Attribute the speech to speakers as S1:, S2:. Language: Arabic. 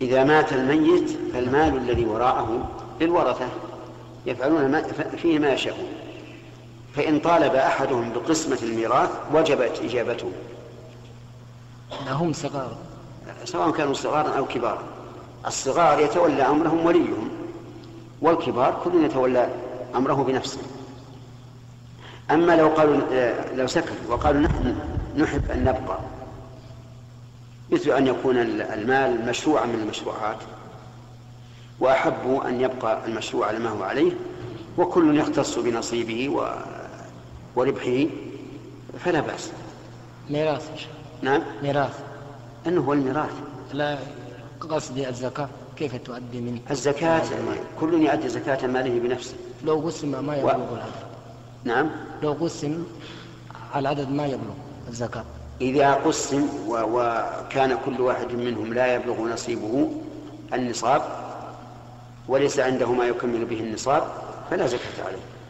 S1: إذا مات الميت فالمال الذي وراءه للورثة يفعلون ما فيه ما يشاءون فإن طالب أحدهم بقسمة الميراث وجبت إجابته
S2: هم صغار
S1: سواء كانوا صغارا أو كبارا الصغار يتولى أمرهم وليهم والكبار كل يتولى أمره بنفسه أما لو قالوا آه، لو سكت وقالوا نحن نحب أن نبقى مثل أن يكون المال مشروعا من المشروعات وأحبوا أن يبقى المشروع على ما هو عليه وكل يختص بنصيبه و... وربحه فلا بأس
S2: ميراث إن شاء الله.
S1: نعم
S2: ميراث
S1: أنه هو الميراث
S2: لا قصدي الزكاة كيف تؤدي من
S1: الزكاة كل يؤدي زكاة ماله بنفسه
S2: لو قسم ما يبلغ العدد
S1: نعم
S2: لو قسم على عدد ما يبلغ الزكاة
S1: إذا قسم و... وكان كل واحد منهم لا يبلغ نصيبه النصاب وليس عنده ما يكمل به النصاب فلا زكاة عليه